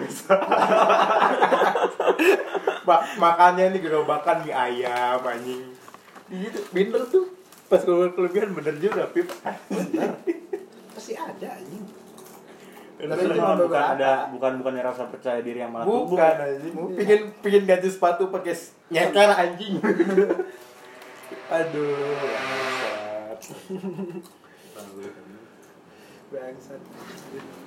Bak, makannya nih gerobakan mie ayam anjing gitu bener tuh pas keluar kelebihan bener juga Eh, Raffi
Pasti ada anjing.
Tapi
Tapi
cuma
cuma
bukan
beberapa.
ada bukan bukan rasa percaya diri yang malah tumbuh. Eh,
bukan anjing pingin pingin ganti sepatu pakai s- nyeker anjing aduh bangsat.
Bangsat.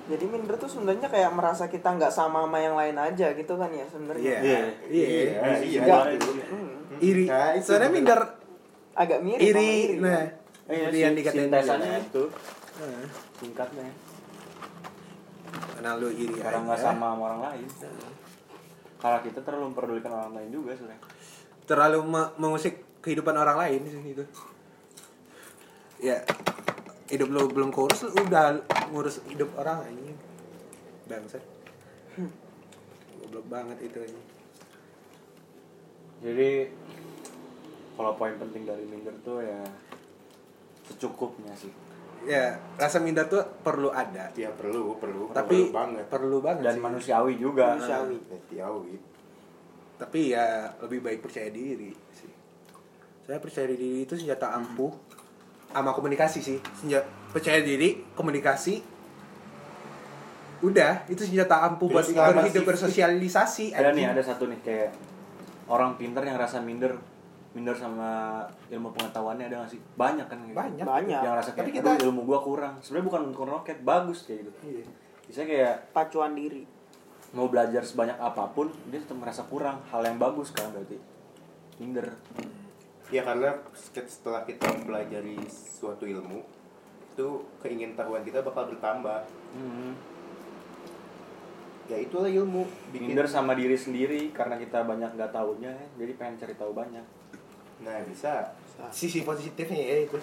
Jadi minder tuh sebenarnya kayak merasa kita nggak sama sama yang lain aja gitu kan ya sebenarnya.
Iya.
Iya.
Iya, iya.
Iya.
Hmm.
Iri.
Nah, itu
Soalnya
bener.
minder
Agak mirip. sama
iri. Nah,
Iya,
itu yang dikatain
sintesannya
Iya.
dia.
itu
Nah,
singkatnya.
Karena lu iri
Karena
aja.
nggak
iya.
sama sama orang lain. Karena kita terlalu memperdulikan orang lain juga sebenarnya.
Terlalu me- mengusik kehidupan orang lain sih itu. Ya, hidup lu belum kurus lu udah ngurus hidup orang anjing. Bangsat. Goblok banget itu anjing.
Jadi kalau poin penting dari minder tuh ya secukupnya sih.
Ya, rasa minder tuh perlu ada.
ya perlu perlu
Tapi
perlu banget
perlu banget
Dan
sih.
manusiawi juga.
Manusiawi.
Ya, Tiawi
tapi ya lebih baik percaya diri sih saya percaya diri itu senjata ampuh sama komunikasi sih Senja- percaya diri komunikasi udah itu senjata ampuh buat
Terus selama
berhidup
sih-
bersosialisasi
Ada nih
anjing.
ada satu nih kayak orang pinter yang rasa minder minder sama ilmu pengetahuannya ada nggak sih banyak kan gitu.
Banyak.
Banyak.
yang rasa
Tapi
kayak
kita-
"Aduh, ilmu gua kurang sebenarnya bukan untuk roket bagus kayak gitu
Iya.
bisa kayak
Pacuan diri.
mau belajar sebanyak apapun dia tetap merasa kurang hal yang bagus kan berarti minder
Ya karena setelah kita mempelajari suatu ilmu itu keingintahuan kita bakal bertambah.
Hmm,
Ya itulah ilmu bikin.
minder sama diri sendiri karena kita banyak nggak tahunya ya, jadi pengen cari tahu banyak
Nah bisa.
sisi positifnya ya itu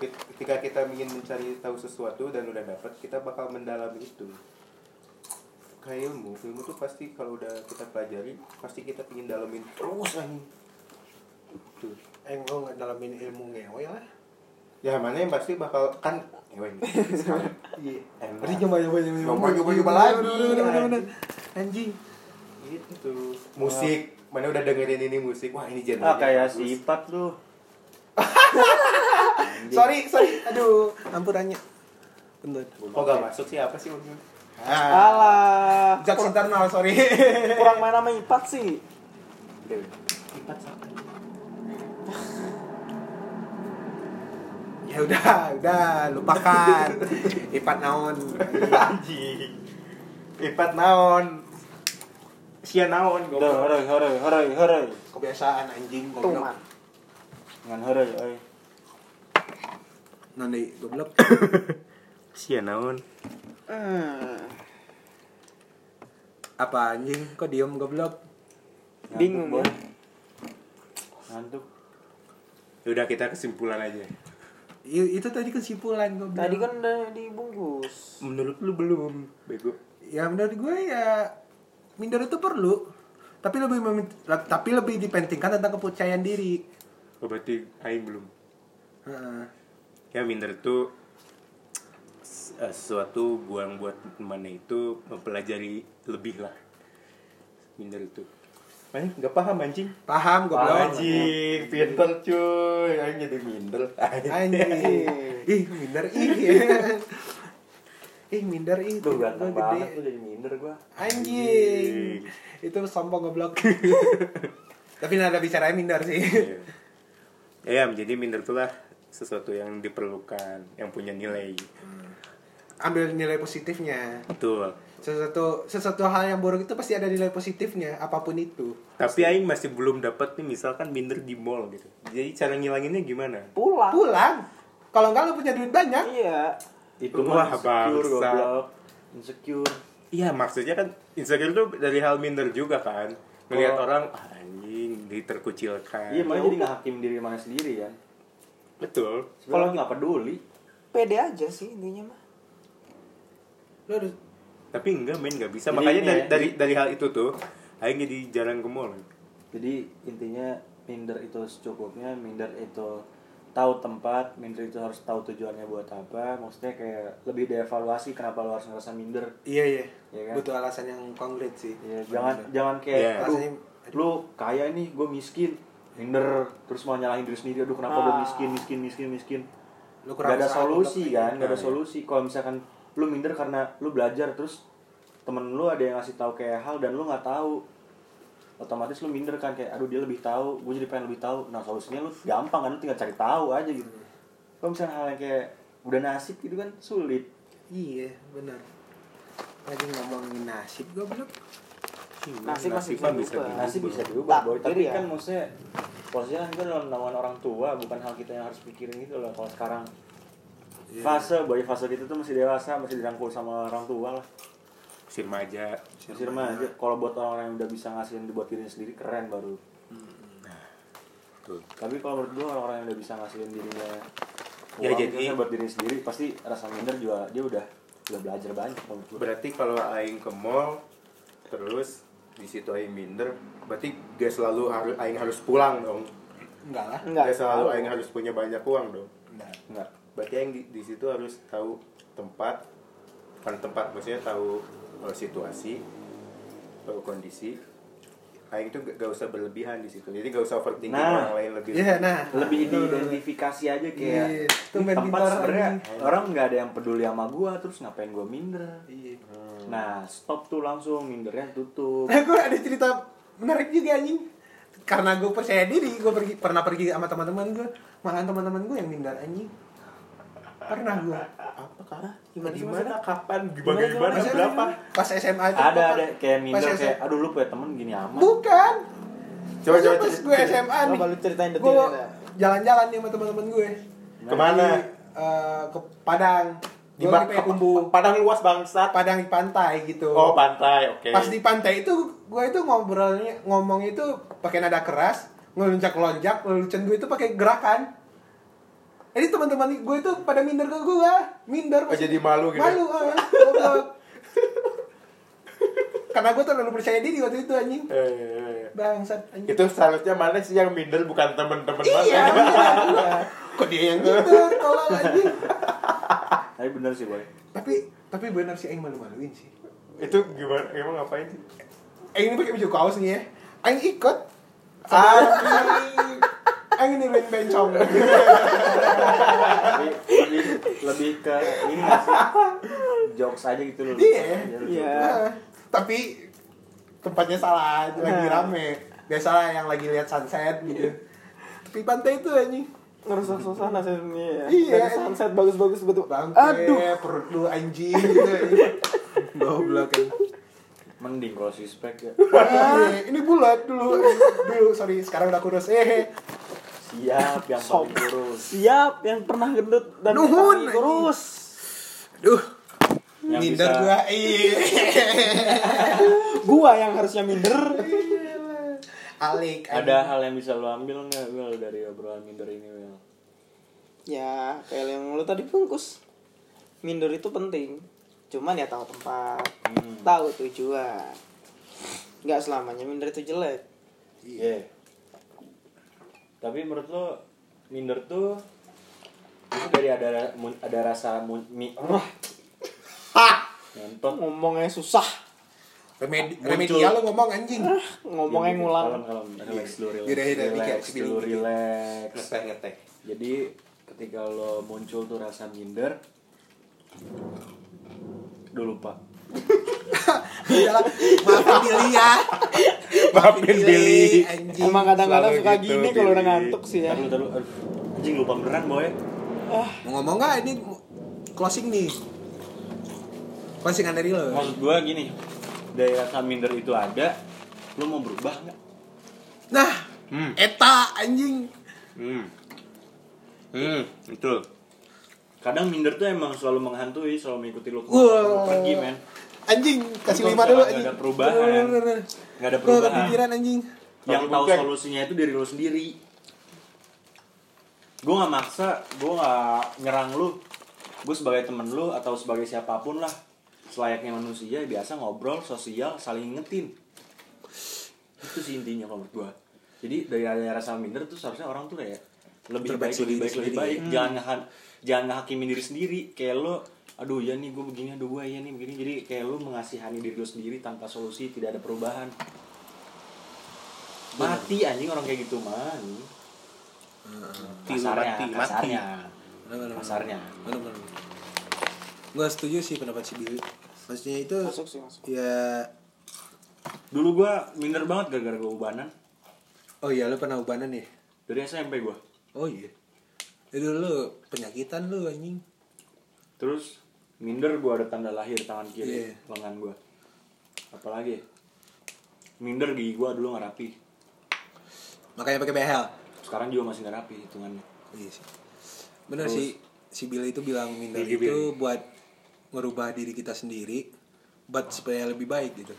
Ketika kita ingin mencari tahu sesuatu dan udah dapat, kita bakal mendalami itu. Kayak ilmu, ilmu tuh pasti kalau udah kita pelajari, pasti kita ingin dalamin terus anjing. Tuh.
emang nggak dalamin ilmu ngewe lah
Ya mana yang pasti bakal kan, eh, wait, sekarang.
iya
Enak.
Nanti nyoba nyoba nyoba
Nyoba, nyoba, nyoba lagi.
Bener, bener, bener, bener. Iya, anjing
gitu musik mana udah dengerin ini musik wah ini genre
ah kayak sifat lu Anjing.
sorry sorry aduh ampurannya bentar
kok gak masuk sih apa sih maksudnya
ah,
Alah.
jokes internal sorry
Kurang main sama ipat sih.
Lipat satu.
ya udah udah lupakan ipat naon
anjing lipat naon sia naon
Udah,
goblok
horai horai horai horai
kebiasaan anjing
Tuman.
goblok
dengan horai oi
nanti goblok
sia naon
Hmm.
apa anjing kok diem goblok
Ngantuk,
Bingung
Boy.
ya.
ngantuk
Ya udah kita kesimpulan aja
I- itu tadi kesimpulan goblok
Tadi kan udah dibungkus.
menurut lu belum bego
ya menurut gue ya minder itu perlu tapi lebih memin- la- tapi lebih dipentingkan tentang kepercayaan diri
oh, berarti aing belum
Heeh.
ya minder tuh s- eh, sesuatu buang buat mana itu mempelajari lebih lah minder itu Mana nggak paham anjing
paham goblok
Anjing, pinter cuy. Aing jadi minder.
anjing ih minder ih ih minder ih
Duh, ganteng
Gua gede.
banget tuh jadi minder gua
Anjing. Itu sombong goblok. Tapi nada bicaranya minder sih.
Iya. Ya, menjadi minder itulah sesuatu yang diperlukan, yang punya nilai.
Ambil nilai positifnya.
Betul.
Sesuatu sesuatu hal yang buruk itu pasti ada nilai positifnya apapun itu.
Tapi aing masih belum dapat nih misalkan minder di mall gitu. Jadi cara ngilanginnya gimana?
Pulang.
Pulang. Kalau enggak lu punya duit banyak,
Iya.
itu mah
Wah,
insecure
bangsat.
goblok insecure
Iya, maksudnya kan insecure tuh dari hal minder juga kan. Melihat orang "Ah, anjing
Oh.
diterkucilkan.
iya makanya jadi nggak hakim diri mana sendiri kan
Betul.
kalau nggak peduli
Pede aja sih intinya mah.
lu harus
Tapi enggak main nggak bisa.
Jadi
Makanya
ini
dari,
ya,
dari dari hal itu tuh aing jadi jarang ke mall.
Jadi intinya minder itu secukupnya, minder itu tahu tempat minder itu harus tahu tujuannya buat apa maksudnya kayak lebih dievaluasi kenapa lu harus ngerasa minder
Iya iya.
Iya kan?
Butuh alasan yang konkret sih.
Ya, jangan jangan kayak
Iya.
"Aduh,
Rasanya-
lu kaya nih gue miskin minder terus mau nyalahin diri sendiri aduh kenapa
Ah.
gue miskin miskin miskin miskin
Lu kurang
gak ada
usaha
solusi
untuk-
kan gak ada
Nah, iya.
solusi kalau misalkan lu minder karena lu belajar terus temen lu ada yang ngasih tahu kayak hal dan lu nggak tahu otomatis lu minder kan kayak aduh dia lebih tahu gue jadi pengen lebih tahu nah solusinya lu gampang kan lu tinggal cari tahu aja gitu
Hmm.
kalau misalkan hal yang kayak udah nasib gitu kan sulit
Iya benar. Lagi ngomongin nasib goblok.
Nasib
Nasib
masih
mah bisa
bisa
gitu.
diubah.
diubah.
nasib Nah, bisa diubah boy
Takdir
tapi
ya.
kan maksudnya posisinya kan kita dalam naungan orang tua bukan hal kita yang harus pikirin gitu loh kalau sekarang fase boy fase kita tuh masih dewasa masih dirangkul sama orang tua lah
si remaja
masih remaja kalau buat orang-orang yang udah bisa ngasihin buat dirinya sendiri keren baru
tuh
tapi kalau menurut gua orang-orang yang udah bisa ngasihin dirinya
Ya,
uang,
jadi-
misalnya buat dirinya sendiri pasti rasa minder juga dia udah udah belajar banyak menurut gua.
berarti kalau aing ke mall terus di situ aing minder berarti gak selalu harus aing harus pulang dong
Enggak lah.
Enggak.
gak selalu aing harus punya banyak uang dong
Enggak.
Enggak.
berarti aing di, di situ harus tahu tempat bukan tempat maksudnya tahu eh, situasi tahu kondisi aing tuh gak, gak usah berlebihan di situ jadi gak usah overthinking
Nah.
orang lain lebih
Iya nah.
lebih
Betul, betul.
diidentifikasi aja kayak
Iya,
"Ih,
tumben
tempat
pintar
sebenarnya
anjing."
orang nggak ada yang peduli sama gua terus ngapain gua minder
Iya.
Hmm.
Nah, stop tuh langsung mindernya tutup.
Nah, gue ada cerita menarik juga anjing. Karena gue percaya diri, gue pergi pernah pergi sama teman-teman gue, malahan teman-teman gue yang minder anjing. Pernah gue.
apa kah
Gimana sih,
gimana kapan
Gimana,
gimana
gimana,
gimana
gimana?
berapa
Pas SMA itu
ada
gua-
ada kayak minder
pas
kayak
SMA
aduh lu punya temen gini amat.
Bukan.
Coba,
Pas-
coba,
pas
cerita-
gue
cerita.
SMA nih.
Coba lu ceritain
Gue
detailnya, dah.
jalan-jalan nih sama teman-teman gue.
Kemana?
Di, eh, ke Padang.
di
Gue di
Mar-
Payakumbuh.
padang luas bangsat
Padang di pantai gitu.
oh pantai oke
Pas di pantai itu gue itu ngobrolnya ngomong itu pakai nada keras, ngelonjak-lonjak, lelucon gue itu pakai gerakan. Jadi teman-teman gue itu pada minder ke gue, minder.
Oh, jadi malu gitu?
Malu, eh, goblok. Karena gue terlalu percaya diri waktu itu anjing.
Eh,
Bangsat anjing.
itu seharusnya mana sih yang minder bukan temen-temen
Iya,
mana
iya.
kok dia yang
Gitu, tolol anjing.
Tapi bener sih, Boy.
Tapi tapi benar sih aing malu-maluin sih.
itu gimana emang ngapain sih
Aing ini pakai baju kaos nih ya. Aing ikut.
Ah.
Aing niruin bencong.
Tapi lebih, lebih ke ini gak sih? Jokes aja gitu loh.
Iya,
Aja lucu.
iya.
Nah, tapi tempatnya salah lagi
Nah.
rame biasalah yang lagi lihat sunset gitu di pantai itu anjing
Ngerusak suasana sebenarnya ya.
Iya.
Dari sunset bagus-bagus betul.
bangke
Aduh.
perut lu anjing gitu anjing. goblok kan
Mending kalau suspek ya.
Iya, ini bulat dulu dulu sorry sekarang udah kurus eh
Siap yang paling kurus.
Siap yang pernah gendut dan
Nuhun,
ditangis terus.
duh
Yang
minder
bisa-
gua iya
Gua yang harusnya minder.
alik
Ada hal yang bisa lo ambil nggak Wil dari obrolan minder ini Wil?
Ya, kayak yang lu tadi bungkus. Minder itu penting. Cuman ya tahu tempat,
Hmm.
tahu tujuan. Nggak selamanya minder itu jelek.
Iya. Tapi menurut lo minder tuh itu dari ada mun- ada rasa mun, mi, wah. Ngentot.
Ngomongnya susah,
remedi
Muncul.
remedia lu ngomong anjing
ngomongnya
Iya,
ngulang.
kalem, kalem. Relax dulu, relax.
Yaudah, yaudah,
relax
dikit,
dulu,
dikit.
relax.
ngeteh ngeteh
Jadi ketika lo muncul tuh rasa minder Udah lupa
Udah lah, maafin Billy ya
maafin Billy
anjing
Emang kadang-kadang
selalu
suka
gitu,
gini kalau udah
Billy.
ngantuk sih ya.
Ntar lu, ntar lu, aduh, Anjing lupa beneran boy
Mau ngomong nggak ini closing nih? Closingan dari lo.
Maksud gue gini Dari rasa minder itu ada Lo mau berubah nggak?
Nah,
hmm
eta anjing.
hmm hmm betul
Kadang minder tuh emang selalu menghantui Selalu mengikuti lo
Wah.
kemana lo pergi men
Anjing, kasih
Itu
lima dulu
kalau nggak
anjing.
ada perubahan. Nggak ada
Gua
perubahan.
kepikiran anjing.
yang
Tapi
tahu
bukan.
solusinya itu diri lo sendiri gue nggak maksa gue nggak nyerang lu gue sebagai temen lu atau sebagai siapapun lah selayaknya manusia biasa ngobrol sosial saling ngetin itu sih intinya kalau menurut gue jadi dari ada rasa minder tuh seharusnya orang tuh kayak lebih
Terbaik
baik Hmm. lebih
diri
baik lebih
sendiri.
baik jangan ngahan- jangan ngehakimin diri sendiri kayak lo aduh ya nih gue begini aduh gue ya nih begini jadi kayak lo mengasihani diri lo sendiri tanpa solusi tidak ada perubahan mati anjing orang kayak gitu man kasarnya
mati, mati.
kasarnya
Bener-bener.
kasarnya
Bener, bener. Gua setuju sih pendapat si Billy. Maksudnya itu
Masuk sih, masuk.
ya
dulu gue minder banget gara-gara gue ubanan
oh iya lu pernah ubanan ya?
dari SMP gue
Oh iya. Itu lu penyakitan lu anjing.
terus minder gue ada tanda lahir tangan
Iya.
kiri lengan gue apalagi ya? minder gigi gue dulu nggak rapi
Makanya pakai behel.
sekarang juga masih nggak rapi hitungannya
Iya sih. Bener
Terus?
sih si Billy itu bilang minder
Billy,
itu buat ngerubah diri kita sendiri buat supaya lebih baik gitu.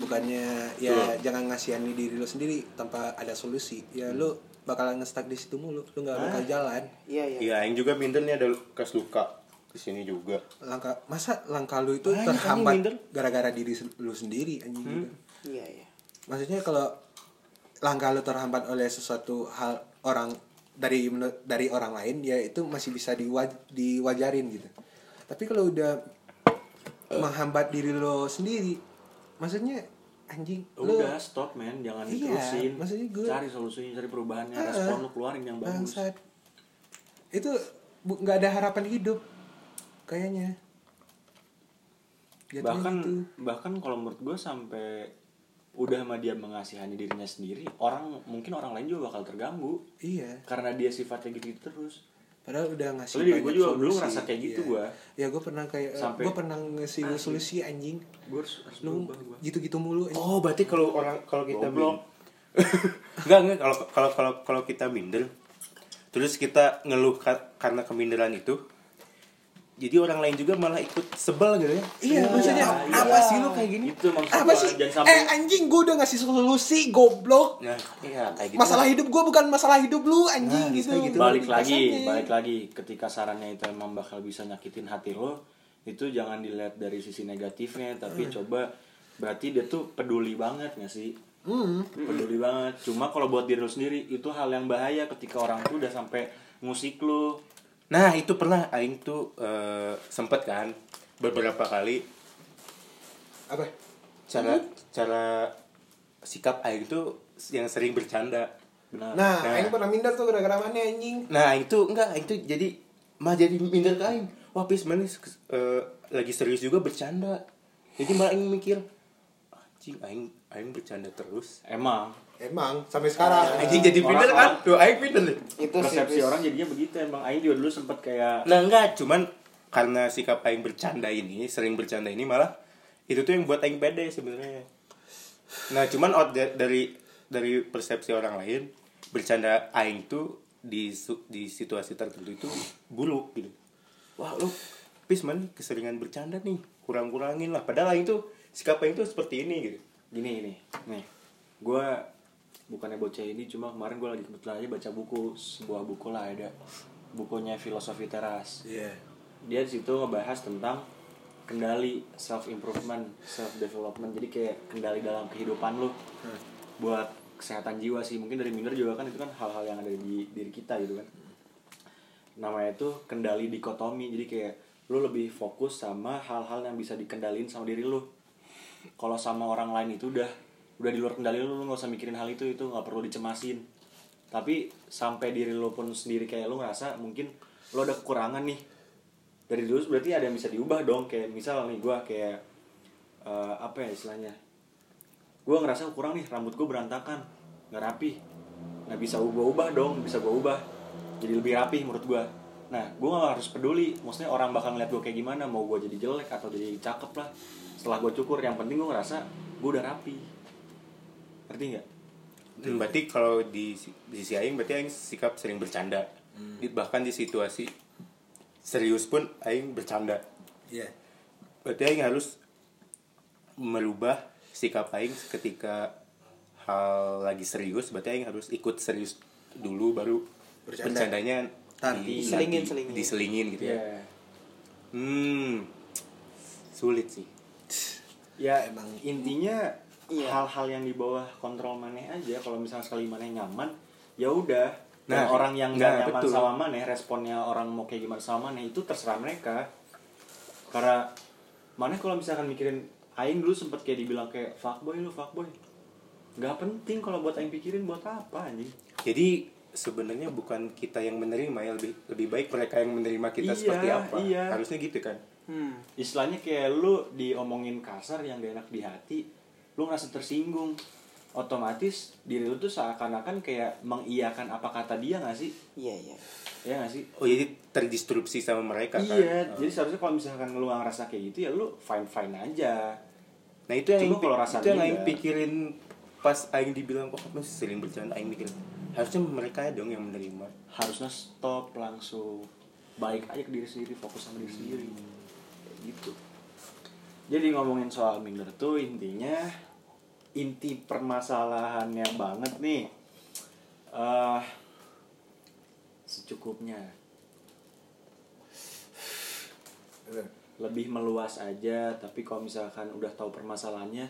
Bukannya ya jangan ngasihani diri lu sendiri tanpa ada solusi. Ya
Hmm.
lu bakalan ngestak di situ mulu. Lu nggak
Ah.
bakal jalan.
Iya iya.
Iya, yang juga minder nih ada kas luka di sini juga.
Langkah masa langkah lu itu
Banyak anjing Ah, iya, minder. Hmm.
terhambat gara-gara diri sen- lu sendiri anjing gitu.
Iya iya.
Maksudnya kalau langkah lu terhambat oleh sesuatu hal orang dari menur- dari orang lain ya itu masih bisa diwa- diwajarin gitu. Tapi kalau udah menghambat diri lo sendiri, maksudnya anjing lu
udah stop men jangan
Iya,
diterusin
maksudnya gua-
cari solusinya cari perubahannya
Ah,
respon lu keluarin yang bagus
bangsat. Itu bu- nggak ada harapan hidup kayaknya. Jatuhnya
bahkan
gitu.
bahkan kalau menurut gue sampai udah sama dia mengasihani dirinya sendiri orang mungkin orang lain juga bakal terganggu
iya.
karena dia sifatnya gitu, -gitu terus
Padahal udah ngasih
Soalnya diri
banyak
gua juga dulu
solusi.
ngerasa kayak gitu
Iya.
gua.
Ya gue pernah kayak
Sampai-
gue pernah ngasih lu solusi anjing.
gue harus, harus
Lu
berubah gua.
gitu-gitu mulu anjing.
Oh, berarti kalau orang kalau kita
Goblok.
enggak enggak kalau kalau kalau kalau kita minder terus kita ngeluh ka- karena keminderan itu jadi orang lain juga malah ikut sebel gitu ya
Iya, maksudnya
iya.
apa sih lu kayak gini?
Itu maksud
apa
gua,
sih?
jangan sampai-
Eh anjing gue udah ngasih solusi goblok.
nah iya kayak gitu
Masalah hidup gue bukan masalah hidup lu anjing gitu. gitu.
balik lagi
Kasarnya.
balik lagi ketika sarannya itu emang bakal bisa nyakitin hati lo itu jangan dilihat dari sisi negatifnya tapi coba berarti dia tuh peduli banget nggak sih peduli banget cuma kalau buat diri lo sendiri itu hal yang bahaya ketika orang tuh udah sampai ngusik lo
nah itu pernah aing tuh eh, sempet kan beberapa kali
Apa?
cara cara sikap aing tuh yang sering bercanda
benar
Nah,
Nah.
Aing pernah minder tuh gara-gara mana anjing.
nah aing tuh enggak aing tuh jadi mah jadi minder ke aing wah pis mana eh, lagi serius juga bercanda jadi malah aing mikir anjing aing aing bercanda terus
emang
Emang sampai sekarang.
Anjing jadi minder
Orang-orang-
kan? Tuh aing minder nih.
Itu sih.
persepsi
Pis.
orang jadinya begitu emang Aing juga dulu sempet kayak
Nah enggak, cuman karena sikap aing bercanda ini, sering bercanda ini malah itu tuh yang buat aing pede sebenarnya. Nah, cuman out da- dari dari persepsi orang lain, bercanda aing tuh di su- di situasi tertentu itu buruk gitu. Wah, lu pis man keseringan bercanda nih. Kurang-kurangin lah. Padahal aing tuh sikap aing tuh seperti ini gitu.
gini gini nih gue bukannya bocah ini cuma kemarin gue lagi kebetulan aja baca buku sebuah buku lah ada bukunya filosofi teras
Iya.
dia di situ ngebahas tentang kendali self improvement self development jadi kayak kendali dalam kehidupan lo buat kesehatan jiwa sih mungkin dari minder juga kan itu kan hal-hal yang ada di diri kita gitu kan namanya itu kendali dikotomi jadi kayak lo lebih fokus sama hal-hal yang bisa dikendalin sama diri lo kalau sama orang lain itu udah udah di luar kendali lo lo nggak usah mikirin hal itu itu nggak perlu dicemasin tapi sampai diri lo pun sendiri kayak lo ngerasa mungkin lo ada kekurangan nih dari dulu berarti ada yang bisa diubah dong kayak misal nih gue kayak eh, apa ya istilahnya gue ngerasa kurang nih rambut gue berantakan nggak rapi nah bisa gue ubah dong bisa gue ubah jadi lebih rapi menurut gue nah gue gak harus peduli maksudnya orang bakal ngeliat gue kayak gimana mau gue jadi jelek atau jadi cakep lah setelah gue cukur yang penting gue ngerasa gue udah rapi ngerti nggak
Hmm, berarti kalau di si- di sisi aing berarti aing sikap sering bercanda.
Hmm.
Di- Bahkan di situasi serius pun aing bercanda.
Iya.
Berarti aing harus merubah sikap aing ketika hal lagi serius, berarti aing harus ikut serius dulu baru
Bercanda.
bercandanya
Tar,
di-
diselingin,
di-
selingin. Iya.
diselingin gitu ya.
ya
Hmm. Sulit sih.
ya
Emang-
intinya
Iya.
hal-hal yang di bawah kontrol maneh aja kalau misalnya sekali maneh nyaman ya udah nah,
Nah,
orang yang nggak
nah,
nyaman
betul.
sama maneh responnya orang mau kayak gimana sama maneh itu terserah mereka karena maneh kalau misalkan mikirin aing dulu sempet kayak dibilang kayak fuckboy lu fuckboy nggak penting kalau buat aing pikirin buat apa anjing
Jadi sebenarnya bukan kita yang menerima ya lebih lebih baik mereka yang menerima kita
Iya,
seperti apa.
iya.
Harusnya gitu kan.
Hmm.
istilahnya kayak lu diomongin kasar yang gak enak di hati lu ngerasa tersinggung otomatis diri lu tuh seakan-akan kayak mengiyakan apa kata dia nggak sih
Iya iya.
ya nggak sih
Oh jadi terdistrupsi sama mereka kan.
iya
Oh.
jadi seharusnya kalau misalkan lu nggak ngerasa kayak gitu ya lu fine fine aja
Nah itu yang
Cuma
aing pi-
kalau rasanya ya.
itu yang aing
beda.
pikirin pas aing dibilang kok kamu sering bercanda aing mikir harusnya mereka dong yang menerima.
harusnya stop langsung baik aja ke diri sendiri fokus sama diri sendiri Kayak gitu jadi ngomongin soal minder tuh intinya inti permasalahannya banget nih eh secukupnya lebih meluas aja tapi kalau misalkan udah tahu permasalahannya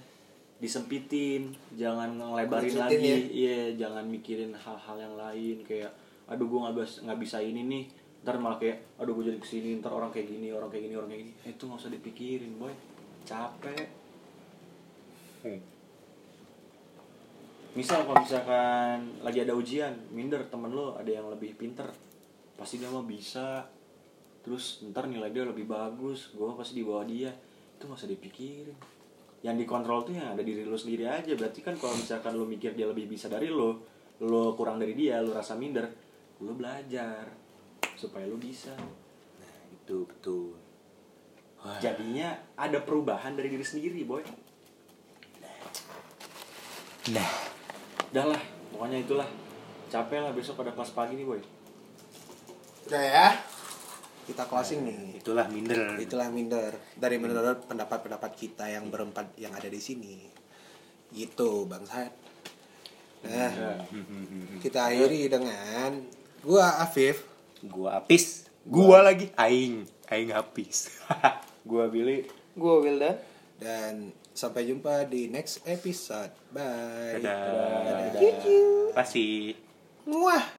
disempitin jangan ngelebarin
Kecitin
lagi
ya.
iya jangan mikirin hal-hal yang lain kayak aduh gue nggak bisa nggak bisa ini nih ntar malah kayak aduh gue jadi kesini ntar orang kayak gini orang kayak gini orang kayak gini Eh, itu nggak usah dipikirin boy capek misal kalau misalkan lagi ada ujian minder temen lo ada yang lebih pinter pasti dia mah bisa terus ntar nilai dia lebih bagus gue pasti di bawah dia itu nggak usah dipikirin yang dikontrol tuh yang ada diri lo sendiri aja berarti kan kalau misalkan lo mikir dia lebih bisa dari lo lo kurang dari dia lo rasa minder lo belajar supaya lo bisa
Nah, itu betul. Wah,
jadinya ada perubahan dari diri sendiri boy
Nah,
dah lah pokoknya itulah capek lah besok pada kelas pagi nih boy
Udah ya.
Kita closing nih.
itulah minder.
Itulah minder dari menurut pendapat-pendapat kita yang berempat yang ada di sini. Gitu, Bang Said. Nah, kita akhiri dengan gua Afif.
Gua apis. Gua lagi aing. Aing apis.
gue Billy
Gue Wildan.
dan sampai jumpa di next episode. Bye.
Dadah. Dadah. Kasih.
Muah.